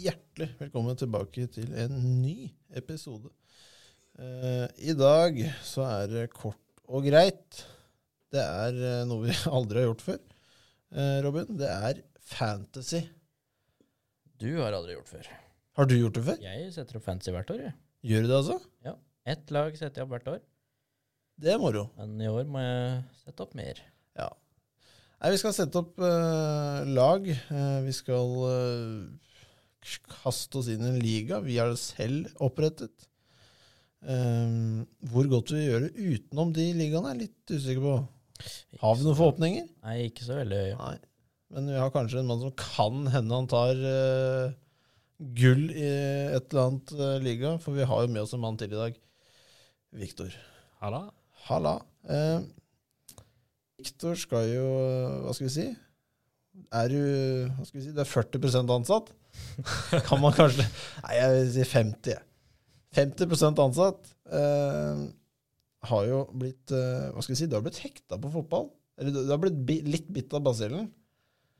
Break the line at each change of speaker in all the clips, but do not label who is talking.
hjertelig velkommen tilbake til en ny episode. Eh, I dag så er det kort og greit. Det er eh, noe vi aldri har gjort før, eh, Robin. Det er fantasy.
Du har aldri gjort før.
Har du gjort det før?
Jeg setter opp fancy hvert år. jeg.
Gjør du det, altså?
Ett lag setter jeg opp hvert år,
Det er moro.
men i år må jeg sette opp mer.
Ja. Nei, vi skal sette opp eh, lag. Eh, vi skal eh, kaste oss inn i en liga vi har selv opprettet. Eh, hvor godt vi gjør det utenom de ligaene, er jeg litt usikker på. Har vi noen forhåpninger?
Nei, ikke så veldig høye.
Nei. Men vi har kanskje en mann som kan hende han tar eh, gull i et eller annet eh, liga, for vi har jo med oss en mann til i dag. Viktor.
Halla.
Halla. Eh, Viktor skal jo eh, Hva skal vi si? Er du hva skal vi si, Det er 40 ansatt? Kan man kanskje Nei, jeg vil si 50. jeg. 50 ansatt. Eh, har jo blitt eh, Hva skal vi si? Du har blitt hekta på fotball. Eller du, du har blitt bi litt bitt av basillen.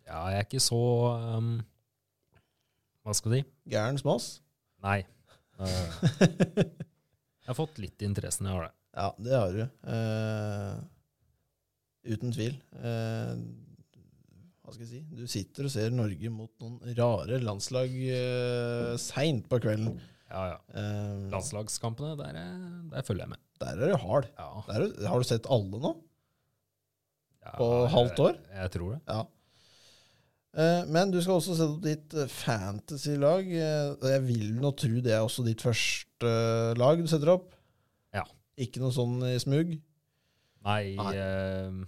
Ja, jeg er ikke så um, Hva skal jeg si?
Gæren som oss.
Nei. Eh, jeg har fått litt interessen, jeg har det.
Ja, det har du. Eh, uten tvil. Eh, hva skal jeg si? Du sitter og ser Norge mot noen rare landslag eh, seint på kvelden.
Ja, ja.
Eh,
Landslagskampene, der, er- der følger jeg med.
der er du hard.
Ja.
Der er, du- har du sett alle nå?
Ja,
På
jeg-
halvt år?
Jeg tror det.
Ja. Eh, men du skal også sette opp ditt eh, fantasy-lag. Eh, jeg vil nå tro det er også ditt første eh, lag du setter opp.
Ja.
Ikke noe sånn i smug.
Nei,
Nei.
eh,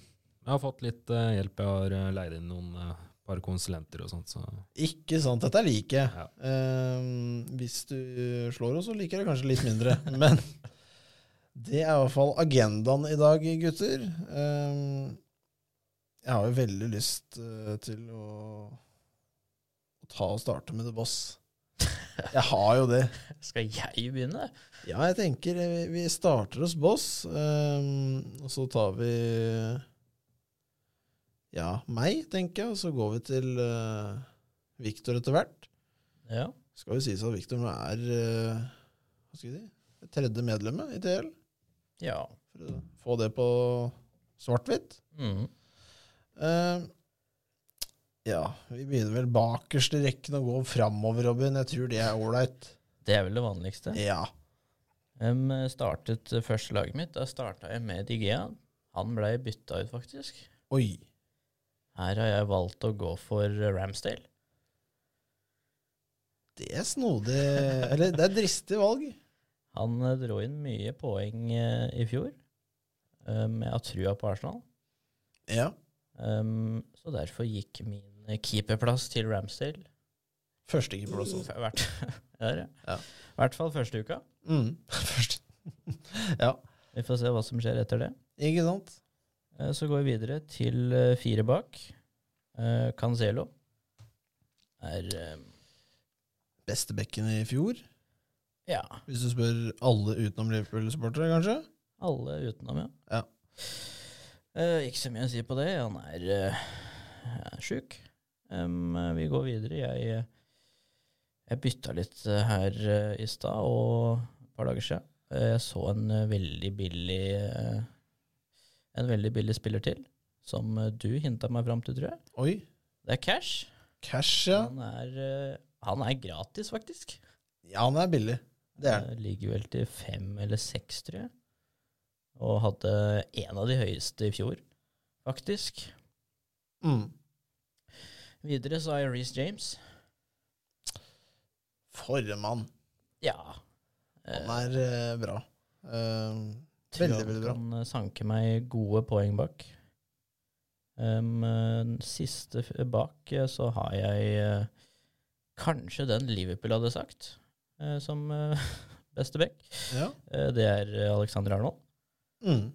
jeg har fått litt eh, hjelp. Jeg har eh, leid inn noen eh, par konsulenter og sånt, så
Ikke sant. Dette liker jeg.
Ja.
Ehm, hvis du slår oss, så liker jeg det kanskje litt mindre. Men det er i hvert fall agendaen i dag, gutter. Ehm, jeg har jo veldig lyst eh, til å, å ta og starte med The Boss. Jeg har jo det.
Skal jeg begynne?
Ja, jeg tenker eh, vi, vi starter hos Boss, ehm, og så tar vi ja, meg, tenker jeg, og så går vi til uh, Victor etter hvert
Ja.
skal jo sies at Victor nå er eh, hva skal jeg si, det tredje medlemmet i TL,
ja.
for å få det på svart-hvitt.
Mm.
Eh, ja, vi begynner vel bakerst i rekken og går framover, Robin. Jeg tror det er ålreit.
Det er vel det vanligste.
Ja.
Em, startet eh, første laget mitt. Da starta jeg med Digea. Han blei bytta ut, faktisk.
Oi.
Her har jeg valgt å gå for eh, Ramsdale.
Det er snodig Eller det er dristig valg.
Han eh, dro inn mye poeng eh, i fjor. Um, jeg har trua på Arsenal.
Ja.
Um, så derfor gikk min keeperplass til Ramsdale.
Førstekeeperplass også.
F- Hvert, Ja, det er det.
Ja.
I hvert fall første uka.
Mm. Først. ja.
Vi får se hva som skjer etter det.
Ikke sant?
Eh, Så går vi videre til eh, fire bak. Eh, Cancelo er eh,
Beste bekken i fjor,
Ja,
hvis du spør alle utenom Liverpool-supportere, kanskje?
alle utenom, ja.
Ja.
Eh, Ikke så mye å si på det. Han er eh, sjuk. Em, eh, vi går videre. Jeg, eh, jeg bytta litt eh, her eh, i stad og et par dager siden. Eh, jeg så en eh, veldig billig eh, En veldig billig spiller til, som eh, du hinta meg fram til, tror jeg.
Oi.
Det er Cash.
Cash, ja.
Han, er, eh, han er gratis, faktisk.
Ja, han er billig. Det er han.
Eh, Ligger vel til fem eller seks, tror jeg. Og hadde en av de høyeste i fjor, faktisk.
Mm.
Videre så har jeg Reece James.
For en mann.
Ja.
Han er eh, bra. Eh,
Tror
veldig, veldig bra.
Han kan eh, sanke meg gode poeng bak. Em, eh, den siste f- bak eh, så har jeg eh, kanskje den Liverpool hadde sagt eh, som eh, beste back.
ja.
Eh, det er eh, Alexander Arnold.
Mm.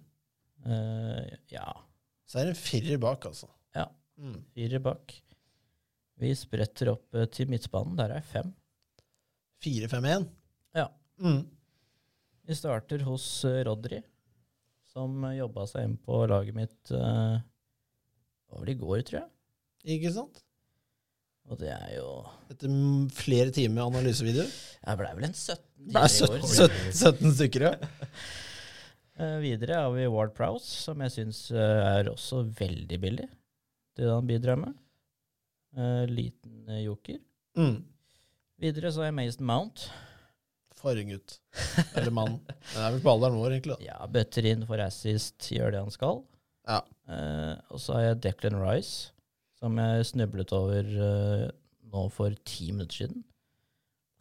Eh, ja,
Så er det en firer bak, altså.
Ja.
Mm.
fire bak. Vi spretter opp eh, til midtbanen. Der er fem.
Fire, fem, én.
Ja.
Mm.
Vi starter hos eh, Rodri, som eh, jobba seg inn på laget mitt eh, det var vel i går, tror jeg.
Ikke sant?
Og det er jo
Etter m- flere timer analysevideo.
Jeg blei vel en 17
Det er
timer
17,
i år.
17, 17 stykker, ja.
Eh, videre har vi Ward Prowse, som jeg syns er også veldig billig til det han bidrar med. Eh, liten eh, joker.
Mm.
Videre så har jeg Mason Mount.
Fargegutt. Eller mann. Den er vel på alderen vår, egentlig. da.
Ja, Bøtter inn for assist, gjør det han skal.
Ja.
Eh, og så har jeg Declan Rice, som jeg snublet over eh, nå for ti minutter siden.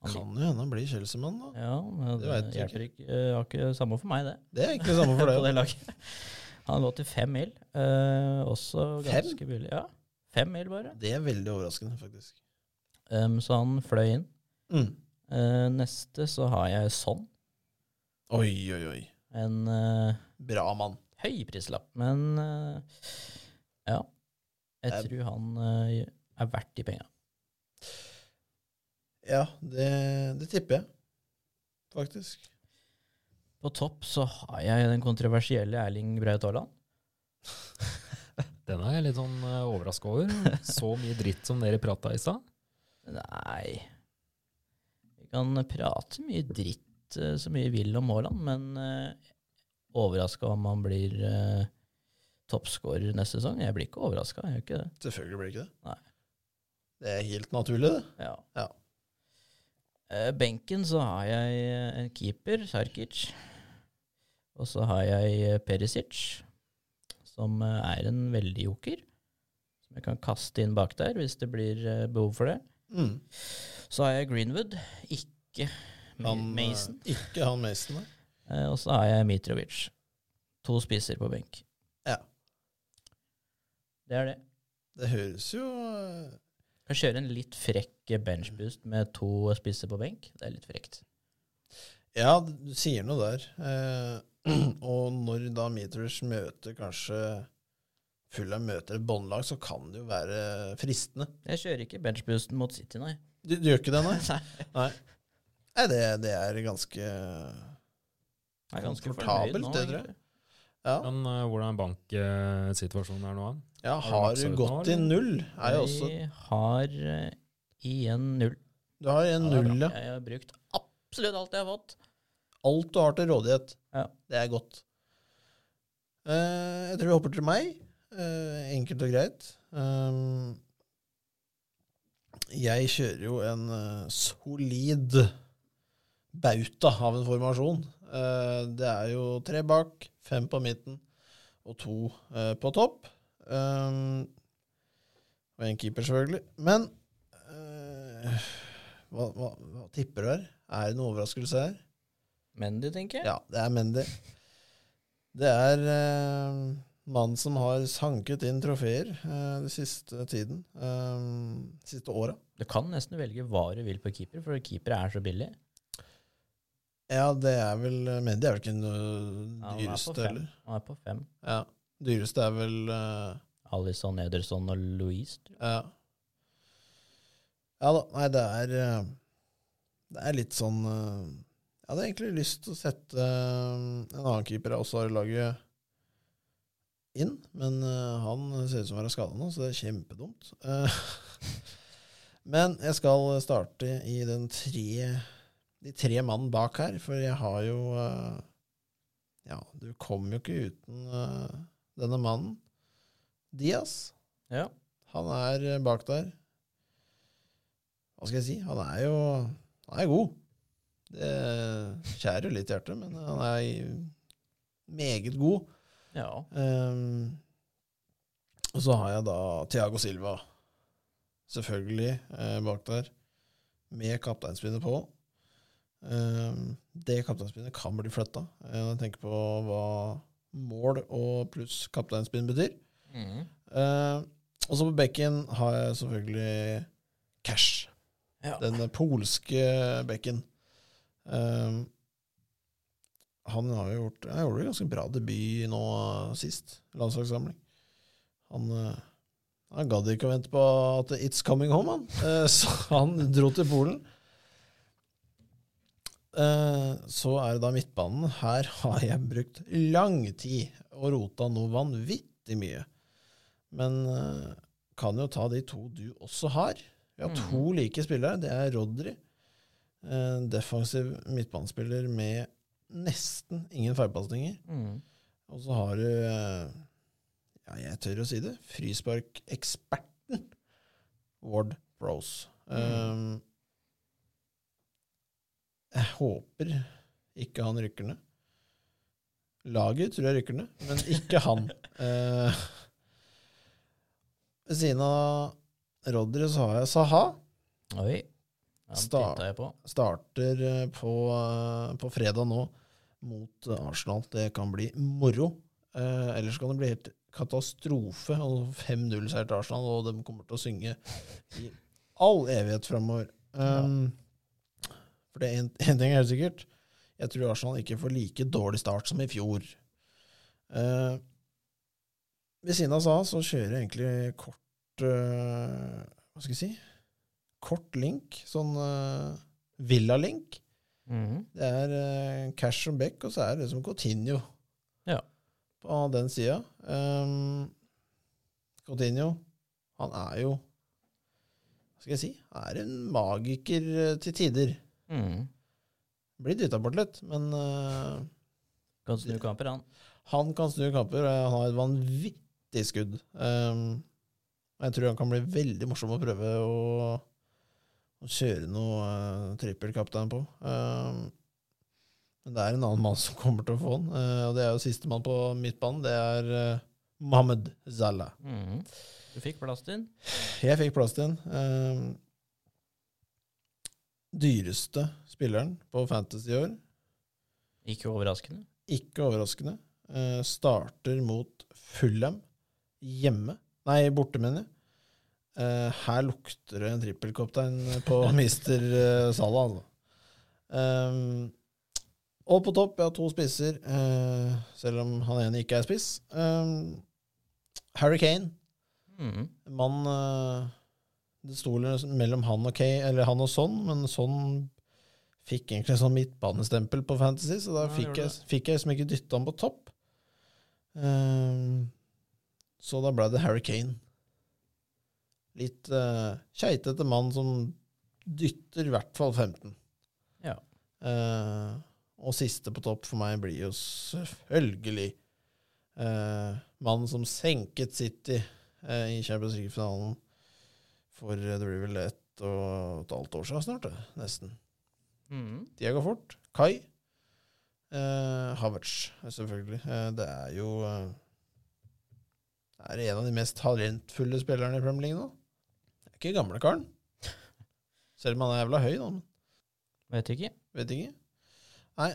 Kan jo hende han blir Chelsea-mann, da.
Ja, men
Det
det
vet du
hjelper ikke. Eh, har ikke samme for meg, det.
Det er egentlig det samme for
på det
deg.
laget. Han lå til fem mil. eh, også
Fem?
ganske billig. Ja, fem mil bare.
Det er veldig overraskende, faktisk.
Em, så han fløy inn.
Mm.
Eh, neste så har jeg sånn.
Oi, oi, oi.
En eh,
Bra mann.
høy prislapp, men eh, ja. Jeg
Eh.
tror han eh, er verdt de penga.
Ja, det, det tipper jeg. Faktisk.
På topp så har jeg den kontroversielle Erling Braut Haaland.
Den er jeg litt sånn overraska over. Så mye dritt som dere prata i stad.
Nei Vi kan prate mye dritt eh, så mye vi vil om Haaland, men uh, overraska om han blir uh, toppskårer neste sesong? Jeg blir ikke overraska, jeg gjør ikke det.
Selvfølgelig blir det ikke det.
Nei.
Det er helt naturlig, det.
Ja.
Ja.
Eh, benken så har jeg eh, en keeper, Sarkic. Og så har jeg eh, Perisic, som eh, er en veldig joker. Som jeg kan kaste inn bak der hvis det blir eh, behov for det.
Mm.
Så har jeg Greenwood, ikke Ma-
Han, eh,
Mason.
Ikke han Mason, nei.
Eh, Og så har jeg Mitrovic. To spisser på benk.
Ja.
Det er det.
Det høres jo eh,
Jeg kjører en litt frekk benchboost med to spisser på benk. Det er litt frekt.
Ja, du sier noe der. Eh, og når da Mitrovic møter kanskje Fulham møter et båndlag, så kan det jo være fristende.
Jeg kjører ikke benchboosten mot City, nei.
Du, du gjør ikke det, nei?
Nei.
nei. Nei, det, det er ganske
Jeg er ganske
Komfortabelt,
fornøyd nå.
det tror jeg.
egentlig.
Ja,
Men eh, hvordan er banksituasjonen her nå?
ja
Har
har
du
du
maksa ut nå,
gått i
eller?
null? Er jo også,
Jeg har eh, igjen null.
du har en
Ja, det er
null,
bra.
ja.
Jeg har brukt absolutt alt jeg har fått.
Alt du har til rådighet,
Ja.
det er godt. Eh, jeg tror vi hopper til meg. Eh, enkelt og greit. Um, jeg kjører jo en eh, solid bauta av en formasjon. Eh, det er jo tre bak, fem på midten og to eh, på topp. Um, og en keeper, selvfølgelig. Men eh, hva, hva, hva tipper du her? Er det noen overraskelse her?
Mendy, tenker jeg.
Ja, det er Mendy. Det er eh, mannen som har sanket inn trofeer eh, den siste tiden. Eh, siste åra.
Du kan nesten velge hva du vil på keeper, for keepere er så billig.
Ja, det er vel Mendy er vel ikke den eh,
Ja, han er på
dyreste,
fem.
eller?
Han er på fem.
Ja. Dyreste er vel eh,
Alison, Ederson og Louise. tror jeg.
Ja. Ja da. Nei, det er eh, Det er litt sånn eh, Jeg hadde egentlig lyst til å sette eh, en annen keeper jeg også har i laget, inn, men eh, han ser ut som å være skada nå, så det er kjempedumt. Eh, Men jeg skal starte i den tre de tre mannen bak her, for jeg har jo eh, Ja, du kommer jo ikke uten eh, denne mannen. Diaz.
Ja.
Han er eh, bak der. Hva skal jeg si? Han er jo han er god. Det skjærer jo litt i hjertet, men han er meget god.
ja.
Ehm, og så har jeg da Thiago Silva, selvfølgelig, eh, bak der, med kapteinspinnet på. Ehm, det kapteinspinnet kan bli flytta, eh, når jeg tenker på hva mål og pluss kapteinspinn betyr. Eh, og så på bekken har jeg selvfølgelig Cash,
Ja.
den polske bekken. Eh, han har jo gjort Han gjorde en ganske bra debut nå eh, sist, landslagssamling. Han, eh, han gadd ikke å vente på at It's coming home, han. Eh, så han dro til Polen. Eh, så er det da midtbanen. Her har jeg brukt lang tid og rota noe vanvittig mye. Men eh, kan jo ta de to du også har, Vi har to like spillere. Det er Rodri, eh, defensiv midtbanespiller med nesten ingen feilpasninger.
Mm.
Og så har du eh, Ja, jeg tør å si det. Frisparkeksperten Ward Rose.
Mm.
Eh, jeg håper ikke han rykker ned. Laget tror jeg rykker ned, men ikke han. Eh, Ved siden av Rodri så har jeg Saha.
Oi. Ja,
Start.
titta jeg på.
Starter eh, på, eh, på fredag nå mot eh, Arsenal. Det kan bli moro. Eh, ellers kan det bli helt katastrofe. og 5-0-seier til Arsenal, og de kommer til å synge i all evighet framover. Um, For det er en, en ting er helt sikkert. Jeg tror Arsenal ikke får like dårlig start som i fjor. Eh, ved siden av SA så kjører jeg egentlig kort eh, Hva skal jeg si? Kort link. Sånn eh, Villa-link.
Mhm.
Det er eh, Cash and Beck, og så er det liksom Coutinho
Ja.
på den sida. Um, Coutinho, han er jo Hva skal jeg si? Han er en magiker eh, til tider.
Mhm.
Blir dytta bort litt, men eh,
Kan snu kamper, han.
han kan snu kamper. og Han har et vanvittig skudd. Um, og jeg tror han kan bli veldig morsom å prøve å, å kjøre noe uh, trippelkaptein på. Um, men det er en annen mann som kommer til å få han, uh, og det er jo sistemann på midtbanen. Det er uh, Mohammed Zalla.
Mhm. Du fikk plass til den.
Jeg fikk plass til den. Um, dyreste spilleren på Fantasy i år.
Ikke overraskende.
Ikke overraskende. eh, starter mot Fulham hjemme. Nei, borte, mener jeg. Eh, her lukter det en trippelkaptein på mister uh, Salah, altså. Ehm, og på topp, jeg har to spisser, eh, selv om han ene ikke er spiss. Ehm, Harry Kane,
Mhm.
mann eh, Det sto liksom mellom han og Kane, eller han og Son, men Son fikk egentlig en sånn midtbanestempel på Fantasy, så da
Ja, han
fikk,
gjorde
jeg, fikk jeg liksom ikke dytta han på topp. Ehm, så da ble det Harry Kane. Litt uh, keitete mann som dytter i hvert fall 15.
Ja.
Eh, og siste på topp for meg blir jo selvfølgelig eh, mannen som senket City eh, i Champions League-finalen for eh, det blir vel ett og et halvt år siden snart, det. nesten.
Mhm.
Tida går fort. Kai. Eh, Havertz, selvfølgelig. Eh, det er jo eh, det er en av de mest talentfulle spillerne i Premier League nå. Det er ikke gamle karen. Selv om han er jævla høy, da. men
Vet ikke.
Vet ikke. Nei.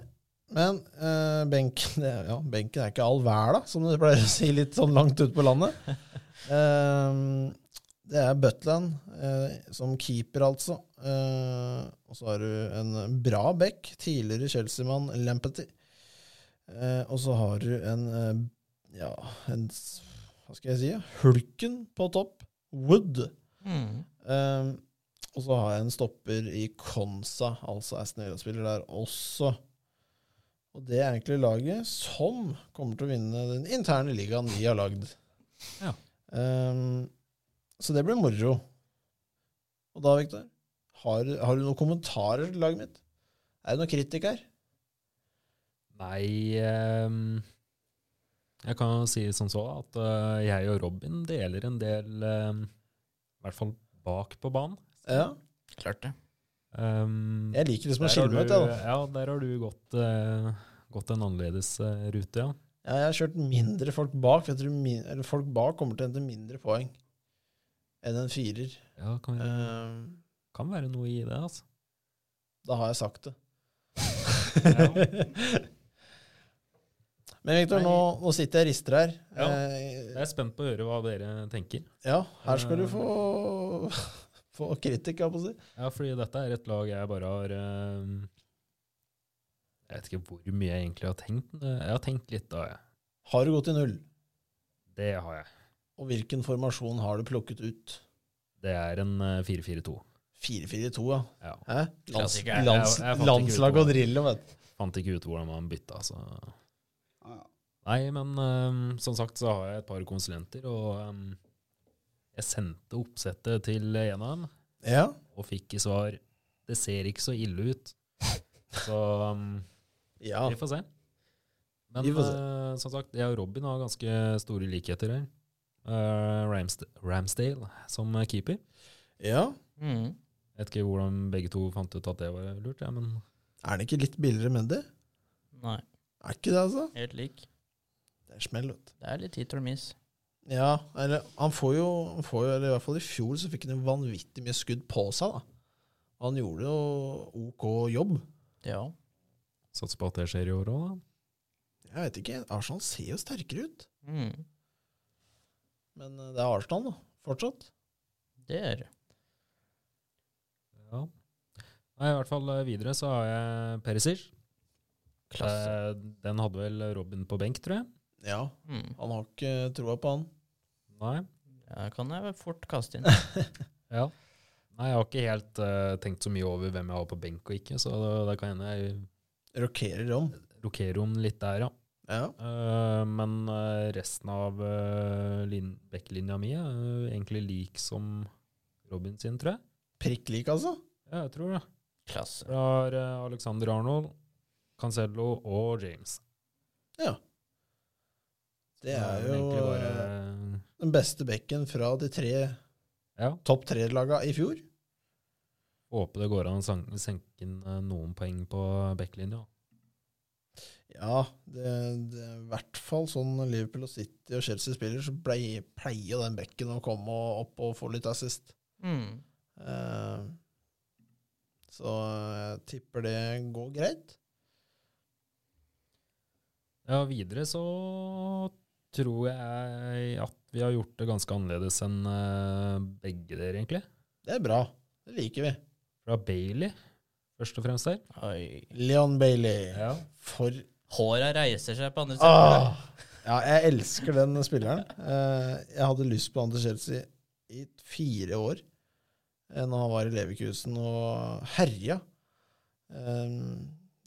Men eh, benken, det er, ja, benken er ikke all verda, som du pleier å si litt sånn langt ute på landet. Ehm, det er Butland eh, som keeper, altså. Eh, og så har du en bra back, tidligere Chelsea-mann Lampety. Eh, og så har du en eh, ja, en, s- hva skal jeg si, ja? hulken på topp, Wood.
Mhm.
Ehm, og så har jeg en stopper i Konsa, altså Aston Villa-spiller der også. Og det er egentlig laget som kommer til å vinne den interne ligaen vi har lagd.
Ja.
Ehm, så det blir moro. Og da, Viktor, har, har du noen kommentarer til laget mitt? Er det noen kritikk her?
Nei ehm, Jeg kan jo si som så at eh, jeg og Robin deler en del ehm, I hvert fall bak på banen.
Ja.
Klart det.
Ehm,
Jeg liker liksom å
der har
skille meg ut, jeg,
du-
da.
Ja, der har du gått, eh, gått en annerledes eh, rute, ja.
Ja, jeg har kjørt mindre folk bak, for jeg tror min, eller folk bak kommer til å hente mindre poeng enn en firer.
Ja, kan,
Ehm,
kan være noe i det, altså.
Da har jeg sagt det.
Ja.
Men Victor,
Nei.
nå, nå sitter jeg og rister her.
Ja. Jeg
Eh,
er spent på å høre hva dere tenker.
ja, her skal du få, få kritikk, jeg holdt på å si.
Ja, fordi dette er et lag jeg bare har ehm, Jeg vet ikke hvor mye jeg egentlig har tenkt. eh, Jeg har tenkt litt, da. jeg.
Har du gått i null?
Det har jeg.
Og hvilken formasjon har du plukket ut?
Det er en eh, 4-4-2.
4-4-2, ja.
Ja.
Hæ? Lands,
Klassiker. Jeg-
lands,
jeg fant ikke ut
landslag
hva-
og drillo, vet du.
Fant ikke ut hvordan man bytta, så
Ja, ja.
Nei, men ehm, som sagt så har jeg et par konsulenter, og ehm, jeg sendte oppsettet til en av dem.
Ja.
og fikk i svar det ser ikke så ille ut. Så um,
ja.
vi får se. Men
Vi får se.
eh, som sagt, jeg og Robin har ganske store likheter her. Eh, Ramsd Ramsdale som keeper.
Ja.
Mm.
Jeg vet ikke hvordan begge to fant ut at det var lurt, ja, men
Er den ikke litt billigere, Mendy?
Nei,
Er ikke det, altså?
helt lik.
Det er smell, vet du.
Det er litt hit or miss.
Ja, eller han får jo, han får jo eller I hvert fall i fjor så fikk han jo vanvittig mye skudd på seg, da. Han gjorde jo OK jobb.
Ja.
satser på at det skjer i år òg, da.
Jeg vet ikke. Arsenal ser jo sterkere ut.
Mm.
Men eh, det er Arsenal, da. Fortsatt.
Det er det.
Ja. Nei, I hvert fall eh, videre så har jeg Perisic.
Klasse.
Eh, Den hadde vel Robin på benk, tror jeg.
Ja,
Mm.
han har ikke eh, troa på han.
Nei.
Ja, kan jeg vel fort kaste inn.
Ja. Nei, jeg har ikke helt eh, tenkt så mye over hvem jeg har på benk og ikke, så det, det kan hende jeg
Rokerer om.
rokerer om litt der, ja.
Ja.
Eh, men eh, resten av uh, backlinja mi er eh, egentlig lik som Robin sin, tror jeg.
Prikk lik, altså.
Ja, jeg tror det.
Klasse.
Vi har eh, Alexander Arnold, Cancelo og James.
Det er
vel
jo
egentlig
eh,
bare
den beste bekken fra de tre
Ja.
topp tre-laga i fjor.
Håper det går an å san- senke inn eh, noen poeng på backlinja.
Ja, det, det er i hvert fall sånn Liverpool og City og Chelsea spiller, så blei- pleier jo den bekken å komme og- opp og få litt assist.
Mm.
Eh, så jeg tipper det går greit.
Ja, videre så tror jeg at vi har gjort det ganske annerledes enn eh, begge dere, egentlig.
Det er bra. Det liker vi.
Fra Bailey, først og fremst her.
Oi.
Leon Bailey.
Ja.
For
Håra reiser seg på andre siden.
ah! Ja, jeg elsker den spilleren. Eh, jeg hadde lyst på han til Chelsea i fire år, eh, når han var i Leverkusen og herja. Eh,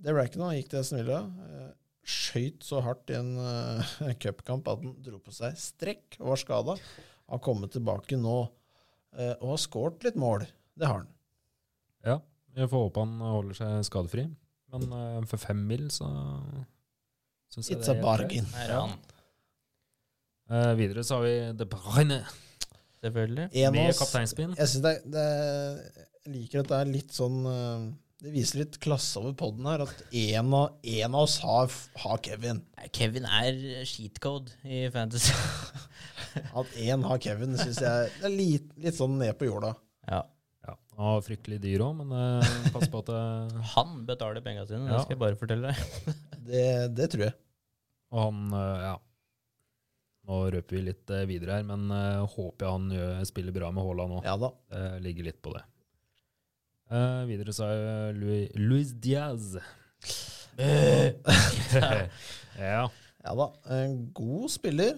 det ble ikke noe, han gikk til Esten Villa. Eh, skøyt så hardt i en eh, cupkamp at han dro på seg strekk og var skada. Har kommet tilbake nå eh, og har skåret litt mål. Det har han.
ja. Vi får håpe han holder seg skadefri. Men eh, for fem mil så syns jeg
It's a
helt greit.
bargain.
Her er han.
Eh, videre så har vi De Bruyne
Selvfølgelig.
En av
med
oss
kapteinspinn.
Jeg synes det, det jeg liker at det er litt sånn eh, Det viser litt klasse over podden her, at en av, en av oss har, har Kevin.
Nei, Kevin er cheatcode i fantasy.
At én har Kevin, det synes jeg det er litt, litt sånn ned på jorda.
ja.
Ja, han var fryktelig dyr òg, men eh, pass på at eh,
Han betaler penga sine,
Ja.
det skal jeg bare fortelle deg.
Det, det tror jeg.
Og han, eh, ja Nå røper vi litt eh, videre her, men eh, håper jeg han gjør, spiller bra med Haaland nå.
Ja da.
Det ligger litt på det. Eh, videre så er Louis, Luis Diaz. ja.
Ja da. En god spiller.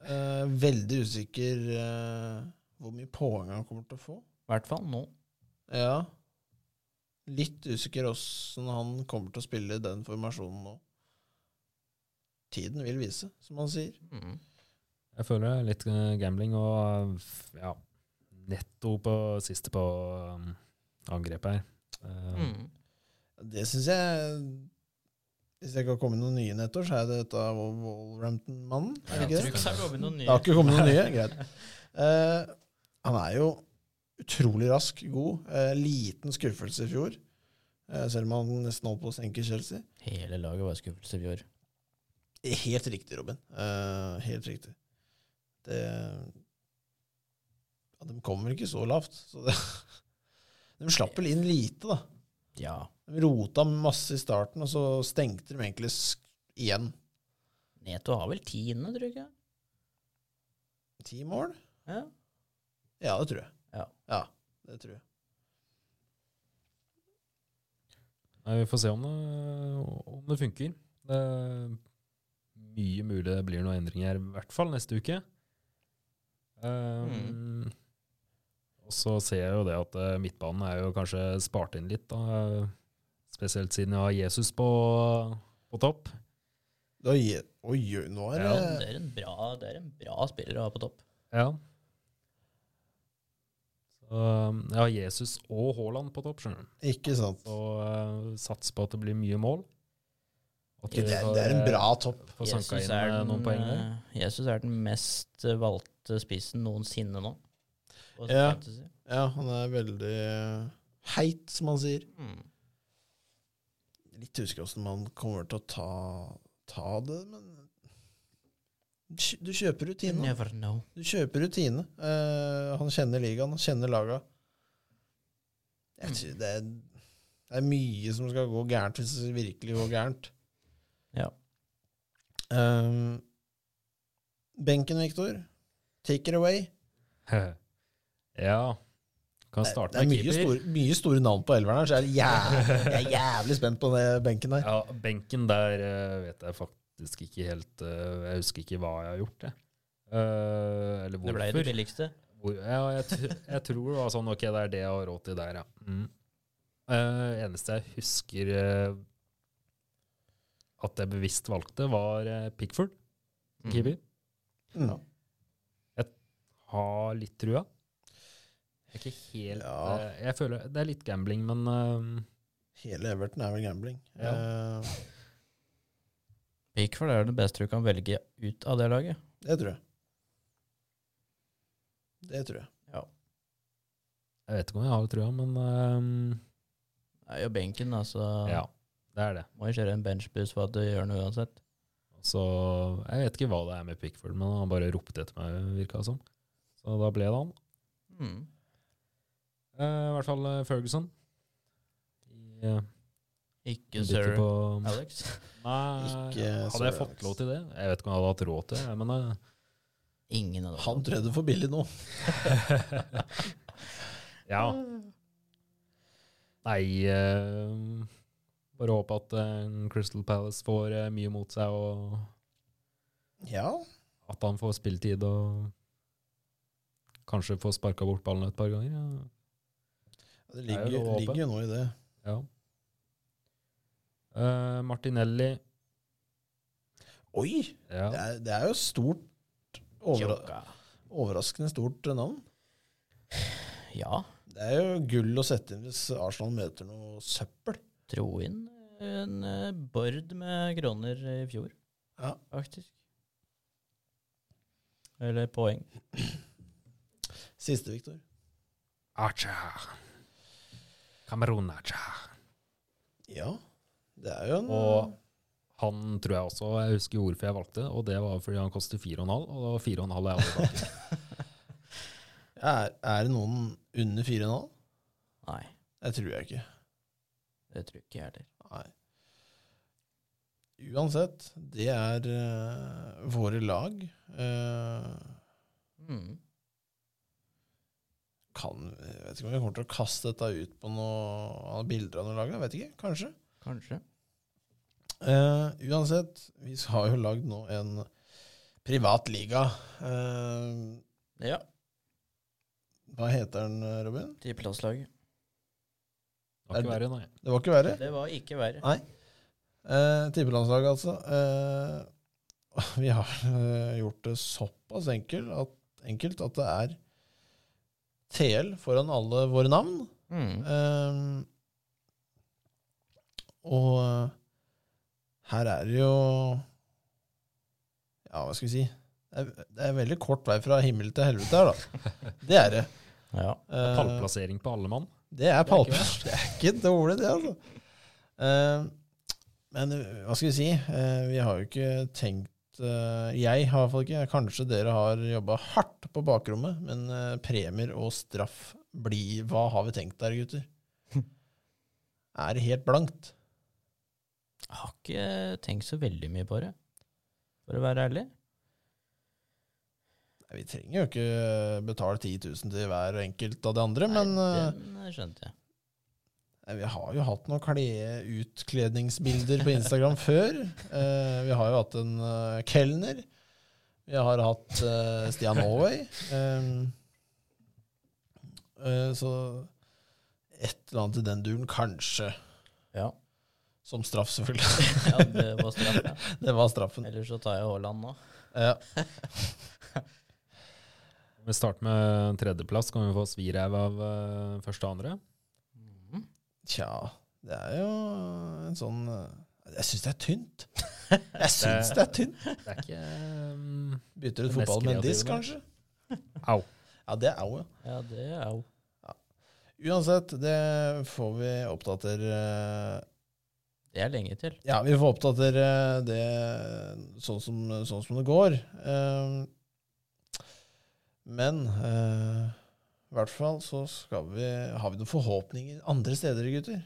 Eh, veldig usikker eh, hvor mye poeng han kommer til å få.
I hvert fall nå.
Ja. Litt usikker åssen han kommer til å spille i den formasjonen nå. Tiden vil vise, som han sier.
Mm.
Jeg føler det er litt eh, gambling og eh, ja, netto på siste på um, angrepet her. Eh,
Mm.
Det syns jeg Hvis jeg ikke har kommet noen nye nettoer, så er det dette Wol- Wolverhampton-mannen. Er det
Jeg
ikke
tror
det?
ikke det har kommet noen
Det
nye.
har ikke kommet noen nye? Greit. Eh, han er jo utrolig rask, god. Eh, liten skuffelse i fjor, eh, selv om han nesten holdt på å senke Chelsea.
Hele laget var skuffelser i år.
Helt riktig, Robin. Eh, helt riktig. Det ja, De kom vel ikke så lavt, så det De slapp vel inn lite, da.
Ja.
De rota masse i starten, og så stengte de egentlig sk igjen.
Neto har vel tiende, tror jeg. ikke?
Ti mål?
Ja.
Ja, det tror jeg.
Ja.
det tror jeg.
Nei, vi får se om det, om det funker. Det er mye mulig det blir noen endringer, i hvert fall neste uke.
Mm.
Ehm, Og så ser jeg jo det at eh, midtbanen er jo kanskje spart inn litt, da. spesielt siden jeg har Jesus på, på topp.
Da, gi- oi, oi, nå er det
Ja,
Det er en bra, det er en bra spiller å ha på topp.
Ja. Så Um, Jeg har Jesus og Haaland på topp, skjønner du.
Ikke sant.
Så eh, sats på at det blir mye mål. At
Det
vi
er,
får,
det er en
eh,
bra topp.
Får sanka inn eh, noen poeng der.
eh, Jesus er den mest eh, valgte spissen noensinne nå. på
Ja.
fantasy.
Ja, han er veldig heit, som han sier.
Mm.
Litt usikker åssen man kommer til å ta, ta det, men Kj- Du kjøper
You
rutine.
never know.
Du kjøper rutine. Eh, han kjenner ligaen, han kjenner laga. Jeg tror det, er, det er mye som skal gå gærent, hvis det virkelig går gærent.
Ja.
Ehm, benken, Viktor. Take it away.
ja. Kan
Det,
starte
er
med
mye
keeper.
store, mye store navn på elveren her, så jeg er, jævlig, jeg er jævlig spent på den benken der.
Ja, benken der eh, vet jeg faktisk ikke helt eh, Jeg husker ikke hva jeg har gjort, jeg. Eh, eller
Det ble
hvorfor.
det billigste.
Hvor, ja, jeg, tr- jeg tror det var sånn Ok, det er det jeg har råd til der, ja. Mm. Eh, eneste jeg husker eh, at jeg bevisst valgte, var eh, Pickford,
Mhm.
Mm.
keeper.
Mm.
Ha litt trua. Jeg er ikke helt
Ja.
eh, Jeg føler Det er litt gambling, men eh,
Hele Everton er vel gambling.
Ja.
Eh,
Pickford er det beste du kan velge ut av det laget.
det tror jeg. Det tror jeg.
jeg vet ikke om jeg har trua, men
Det er jo benken, altså.
eh, ja. Det er det.
Må jo kjøre en benchboost for at du gjør noe uansett.
Så jeg vet ikke hva det er med Pickford, men han bare ropte etter meg, virka det som. Så da ble det han.
Mm.
Eh, I hvert fall eh, Ferguson. I, eh,
Ikke
bytte
sir
på-
Alex.
Nei,
Ikke
hadde
Sir
jeg fått
Alex.
lov til det? Jeg vet ikke om jeg hadde hatt råd til det, men eh,
Ingen av dem.
Han tror jeg det er for billig nå.
eh. ja. Nei eh, Bare håpe at eh, Crystal Palace får eh, mye mot seg, og
Ja,
at han får spilletid og kanskje får sparka bort ballen et par ganger. Ja.
det
er jo
ligger,
lov å håpe.
ligger jo nå i det.
Ja. Eh, Martinelli
Oi! Det
ja.
er, det er jo stort overra
Joka.
Overraskende stort navn.
Ja.
Det er jo gull å sette inn hvis Arsenal møter noe søppel.
Dro inn en eh, bord med kroner i fjor,
Ja.
faktisk. Eller poeng.
Siste, Viktor.
Acha. Kamerun Acha.
Ja, det er jo en
Og han tror jeg også Jeg husker hvorfor jeg valgte, og det var fordi han koster 4,5, og det var 4,5 jeg hadde tatt.
er, er det noen under 4,5?
Nei,
Det tror jeg ikke.
det tror ikke jeg heller.
Nei. Uansett, det er eh, våre lag. Eh,
Mm.
kan, jeg vet ikke om vi kommer til å kaste dette ut på noen bilder av noen lag. Jeg vet ikke. Kanskje.
Kanskje.
Eh, uansett, vi har jo lagd nå en privat liga. Eh,
Ja.
hva heter den, Robin?
Tippeplasslaget.
Det var ikke verre, nei.
Det var ikke verre.
Det var ikke verre.
Eh, Tippelandslaget, altså. Eh, vi har eh, gjort det såpass enkel at, enkelt at det er TL foran alle våre navn.
Mm.
Ehm, og eh, her er det jo Ja, hva skal vi si? Det er, det er veldig kort vei fra himmel til helvete her, da. Det er det.
Ja.
Eh,
Pallplassering på alle mann.
det er
Det er
pallplass.
ikke
Det er ikke dårlig, det, altså. Ehm, men eh, hva skal vi si? Eh, vi har jo ikke tenkt eh, Jeg har i hvert fall ikke. Kanskje dere har jobba hardt på bakrommet, men eh, premier og straff blir Hva har vi tenkt der, gutter? Er det helt blankt?
Jeg har ikke tenkt så veldig mye på det, for å være ærlig.
Nei, Vi trenger jo ikke betale 10 000 til hver enkelt av de andre, men
Nei,
eh,
den skjønte jeg.
Nei, Vi har jo hatt noen kle utkledningsbilder på Instagram før. Eh, vi har jo hatt en eh, kelner. Vi har hatt eh, Stian Aaway. Ehm, eh, så et eller annet i den duren, kanskje.
Ja.
Som straff, selvfølgelig.
ja, det var straff. ja.
Det var straffen.
Ellers så tar jeg Haaland nå.
Ja.
Vi starter med tredjeplass. Kan vi få svirev av eh, første og andre?
Mm.
Tja, det er jo en sånn eh, Jeg syns det er tynt. Jeg syns det er tynt.
Det er ikke um,
Bytter ut
Det er mest
fotball med en disk, kanskje?
kreative. Au.
Ja, det er jo
Ja, det er jo
Uansett, det får vi oppdatere eh,
Det er lenge til.
Ja, vi får oppdatere eh, det sånn som, sånn som det går. Eh, Men eh, i hvert fall så skal vi Har vi noen forhåpninger andre steder, gutter?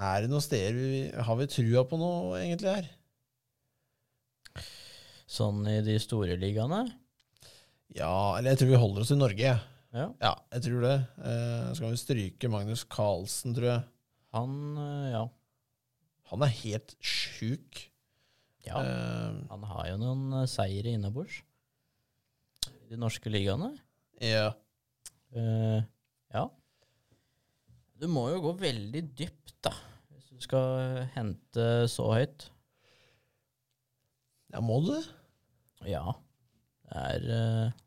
Er det noen steder vi Har vi trua på noe, egentlig, her?
Sånn i de store ligaene.
Ja, eller jeg tror vi holder oss i Norge. jeg.
Ja.
Ja, jeg tror det. Eh, så kan vi stryke Magnus Carlsen, tror jeg.
Han, eh, ja.
Han er helt sjuk.
ja.
Eh,
Han har jo noen eh, seire innabords. I de norske ligaene.
ja.
Eh, ja. Du må jo gå veldig dypt, da. Hvis du skal hente så høyt.
ja, må du det?
Ja. Det er eh,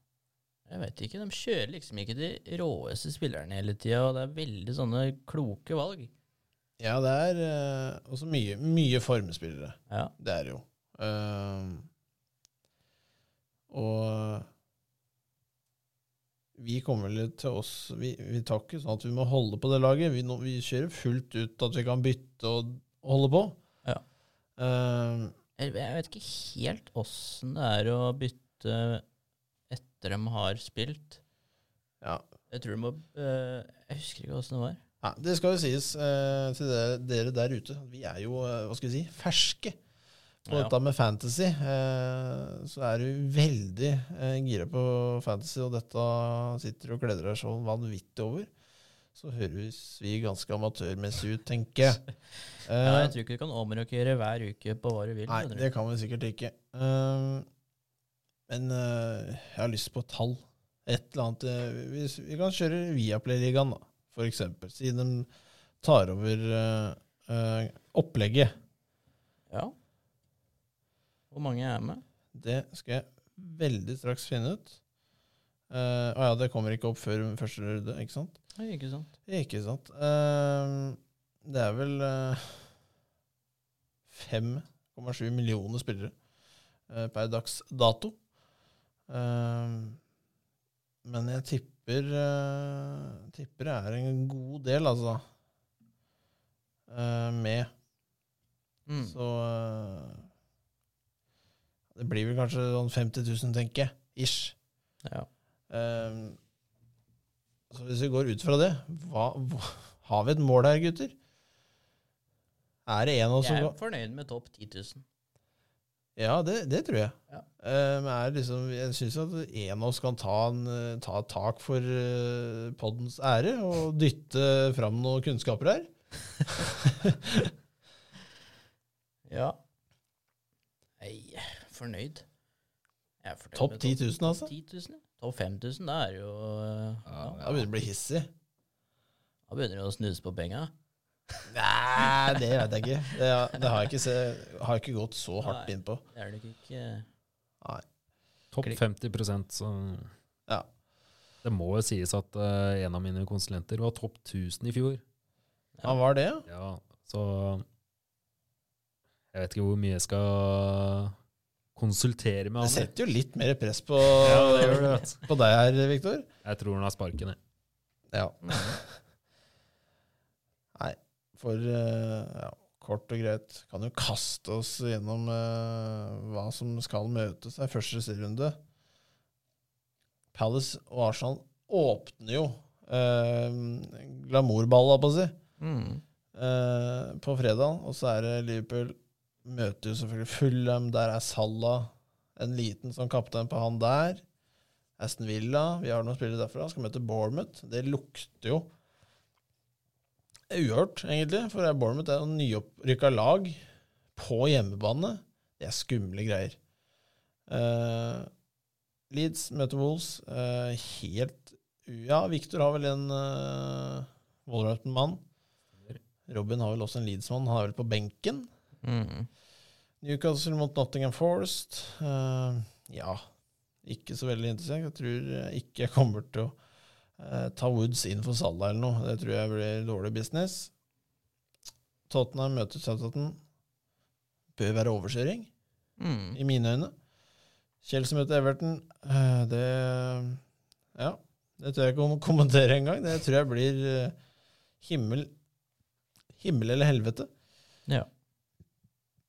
Jeg vet ikke. De kjører liksom ikke de råeste spillerne hele tida, og det er veldig sånne kloke valg.
Ja, det er eh, også mye, mye formspillere.
Ja.
Det er det jo. Eh, og vi kommer vel til oss Vi, vi tar ikke sånn at vi må holde på det laget. Vi, nå- vi kjører fullt ut at vi kan bytte og holde på.
Ja.
Eh,
Jeg jeg vet ikke helt åssen det er å bytte etter de har spilt.
Ja.
Jeg tror de må eh, Jeg husker ikke åssen det var.
Nei, det skal jo sies eh, til dere, dere der ute. Vi er jo eh, hva skal vi si, ferske på
Ja.
dette med fantasy. Eh, så er du veldig eh, gira på fantasy, og dette sitter du og gleder deg så vanvittig over. Så høres vi ganske amatørmessig ut, tenker jeg.
Ja, jeg
Eh,
tror ikke du kan omrokere hver uke på hva du vil.
Nei,
skjønner du.
det kan vi sikkert ikke. Ehm, men eh, jeg har lyst på tall. Et eller annet eh, Vi, vi kan kjøre Viaplay-ligaen, da, for eksempel. Siden de tar over eh, eh, opplegget.
Ja. Hvor mange er med?
Det skal jeg veldig straks finne ut. Eh, Å ja, det kommer ikke opp før første runde, ikke sant?
Oi, ikke sant.
Ikke sant. Ehm, det er vel eh, 5,7 millioner spillere eh, per dags dato. Ehm, men jeg tipper eh, Tipper det er en god del, altså. eh, med.
Mm.
Så eh, Det blir vel kanskje sånn 50 000, tenker jeg. Ish.
Ja.
Ehm, så hvis vi går ut fra det, hva, hva, har vi et mål her, gutter? Er det en av oss som
Jeg er
går
fornøyd med topp 10 000.
Ja, det, det tror jeg.
Ja.
Ehm, er det liksom, jeg syns at en av oss kan ta, en, eh, ta et tak for eh, poddens ære og dytte fram noen kunnskaper her.
Ja. Nei, fornøyd. Jeg er fornøyd
Topp
med
10 000,
topp
altså?
10 000? Topp 5000, da er det jo eh, ja.
Da begynner det å bli hissig.
Da begynner det å snuse på penga.
Nei, det vet jeg ikke. Det, det har, jeg ikke se, har jeg ikke gått så hardt
Nei.
inn på.
Det er det nok ikke
Topp
Klikk.
50 så
Ja.
Det må jo sies at eh, en av mine konsulenter var topp 1000 i fjor.
Ja, var det? ja?
Ja, så Jeg vet ikke hvor mye jeg skal konsultere
Det
med han.
setter jo litt mer press på,
Ja, det gjør
på deg her, Viktor.
Jeg tror han har sparken, jeg.
Ja.
Mm.
Nei, for eh, ja, kort og greit kan jo kaste oss gjennom eh, hva som skal møtes her første serierunde. Palace og Arsenal åpner jo eh, glamourballa, på å si,
mm.
eh, på fredag. Og så er det Liverpool møter jo selvfølgelig Fulham. Der er Salah en liten sånn kaptein på han der. Aston Villa, vi har noen spillere derfra, skal møte Bournemouth. Det lukter jo uhørt, egentlig, for Bournemouth er jo nyopprykka lag på hjemmebane. Det er skumle greier. Eh, Leeds møter Wolves. eh, helt u- Ja, Victor har vel en uh, Wolverhampton-mann. Robin har vel også en Leeds-mann. Han er vel på benken.
Mm.
Newcastle mot Nottingham Forest. Eh, ja, Ikke så veldig interessant. Jeg tror eh, ikke jeg kommer til å eh, ta Woods inn for Salah eller noe. Det tror jeg blir dårlig business. Tottenham møter Southampton. Bør være overkjøring,
Mm.
i mine øyne. Chelsea møter Everton. Eh, det Ja. Det tør jeg ikke å kommentere engang. Det tror jeg blir eh, himmel Himmel eller helvete.
Ja.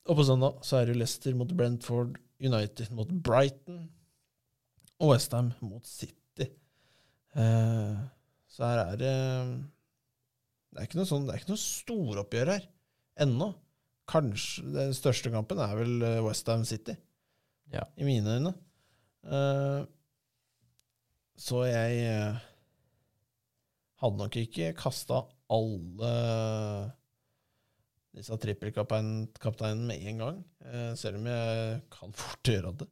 Og på søndag så er det Leicester mot Brentford, United mot Brighton og Westham mot City. Eh, så her er det Det er ikke noe sånn, det er ikke noe storoppgjør her ennå. Kanskje Den største kampen er vel Westham City,
Ja.
i mine øyne. Eh, så jeg eh, hadde nok ikke kasta alle disse trippelkapteinene med en gang, eh, selv om jeg kan fort gjøre det,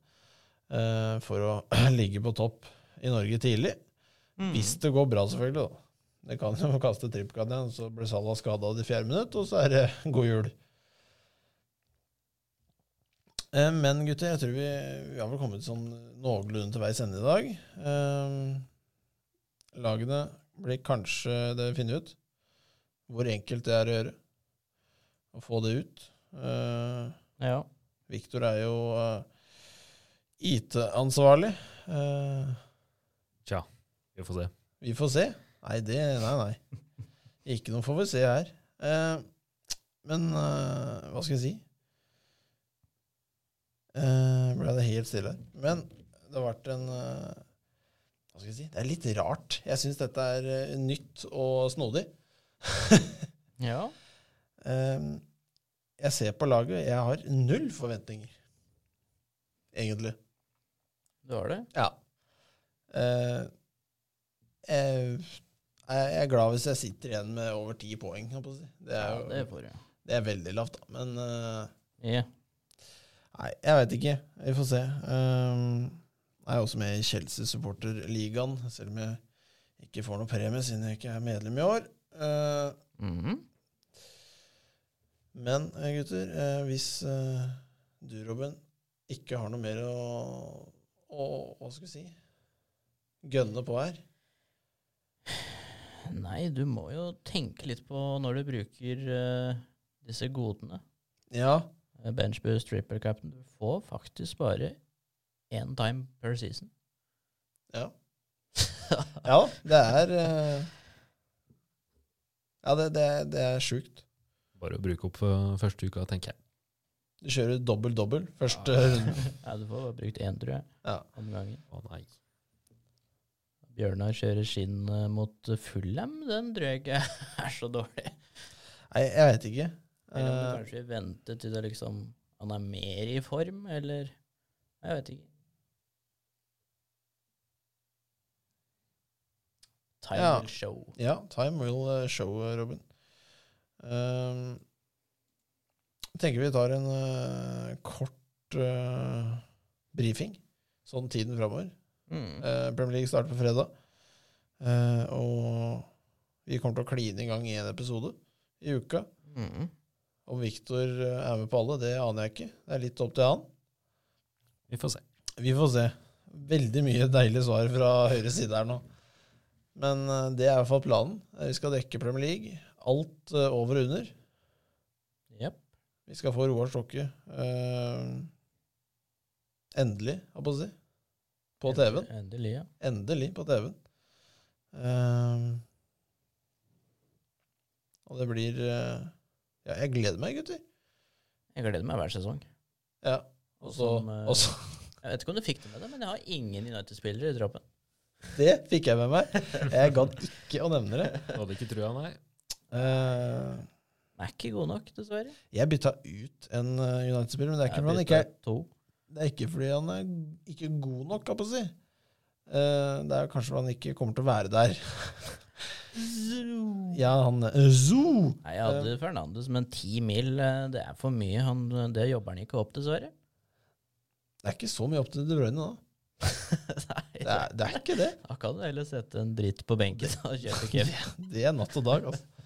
eh, for å ligge på topp i Norge tidlig.
Mm.
Hvis det går bra, selvfølgelig. da. Det kan jo kaste trippelkaptein, så blir Salah skada i fjerde minutt, og så er det god jul. Eh, Men gutter, jeg tror vi, vi har vel kommet sånn noenlunde til veis ende i dag. Eh, Lagene blir kanskje det vi finner ut, hvor enkelt det er å gjøre. Å få det ut. Eh,
Ja.
Viktor er jo eh, IT-ansvarlig. Eh,
Tja, vi får se.
vi får se. Nei, det Nei, nei. Ikke noe får vi se her. Eh, men eh, hva skal jeg si? Eh, ble det helt stille her. Men det har vært en eh, Hva skal jeg si? Det er litt rart. Jeg syns dette er eh, nytt og snodig.
ja.
Eh, jeg ser på laget, jeg har null forventninger, egentlig.
Du har det?
Ja. Eh, jeg, jeg er glad hvis jeg sitter igjen med over ti poeng. holdt på å si. Det er,
Ja,
jo,
det får du.
det er veldig lavt, da. Men eh,
Ja.
nei, jeg veit ikke. Vi får se. Um, jeg er også med i Chelsea-supporterligaen, selv om jeg ikke får noe premie siden jeg ikke er medlem i år. Eh,
Mhm.
men eh, gutter, eh, hvis eh, du, Robin, ikke har noe mer å, å Hva skal vi si? Gønne på her.
Nei, du må jo tenke litt på når du bruker eh, disse godene.
Ja,
Eh, Benchboost, triple captain. Du får faktisk bare én time per season.
Ja. Ja, det er eh, Ja, det, det, det er sjukt.
Bare å bruke opp eh, første uka, tenker jeg.
Du kjører dobbel-dobbel første runden.
Nei, du får bare brukt én, tror jeg.
eh, Ja.
Andre gangen.
Å nei.
Bjørnar kjører skinn eh, mot Fullham. Den tror jeg ikke er så dårlig.
Nei, jeg veit ikke.
Eller om du
Eh,
kanskje venter til det liksom han er mer i form, eller Jeg vet ikke. Time
Ja.
will show.
ja, time will eh, show, Robin. Ehm, jeg tenker vi tar en eh, kort eh, brifing, sånn tiden framover.
Mm.
Eh, Premier League starter på fredag. Eh, og vi kommer til å kline i gang én episode i uka.
Mm.
Om Viktor eh, er med på alle, det aner jeg ikke. Det er litt opp til han.
Vi får se.
Vi får se. Veldig mye deilige svar fra høyre side her nå. Men eh, det er i hvert fall planen. Eh, Vi skal dekke Premier League. Alt eh, over og under.
Jepp.
Vi skal få Roar Stokke eh, endelig, holdt på å si. På TV-en.
Endelig, ja.
Endelig på TV-en. Eh, og det blir eh, Ja, jeg gleder meg, gutter.
Jeg gleder meg hver sesong.
Ja. Og så,
Som, eh,
og så
Jeg vet ikke om du fikk det med deg, men jeg har ingen United-spillere i troppen.
Det fikk jeg med meg. Jeg gadd ikke å nevne det.
Du hadde ikke trua, nei.
Eh,
De er ikke gode nok, dessverre.
jeg bytta ut en eh, United-spiller, men det er, ikke
Jeg
fordi han
bytter
ikke er,
to.
det er ikke fordi han er ikke god nok, kan jeg på å si. Eh, det er kanskje fordi han ikke kommer til å være der. Ja, han eh, Zoo!
Nei, jeg hadde
Eh.
Fernandes, men ti mil, eh, det er for mye. Han, eh, det jobber han ikke opp, dessverre.
Det er ikke så mye opp til De Bruyne, da.
Nei,
Det er, det er ikke det.
Da kan du heller sette en dritt på benken og kjøpe kebab.
Det er natt og dag, altså.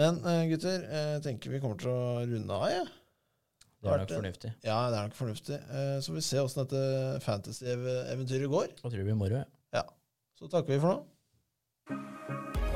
Men eh, gutter, eh, jeg tenker vi kommer til å runde av, jeg.
Det er
vært
nok
det.
fornuftig.
Ja, det er nok fornuftig. Eh, Så får vi se åssen dette fantasy-eventyret går.
Da tror jeg det blir moro. jeg.
Så takker vi for nå.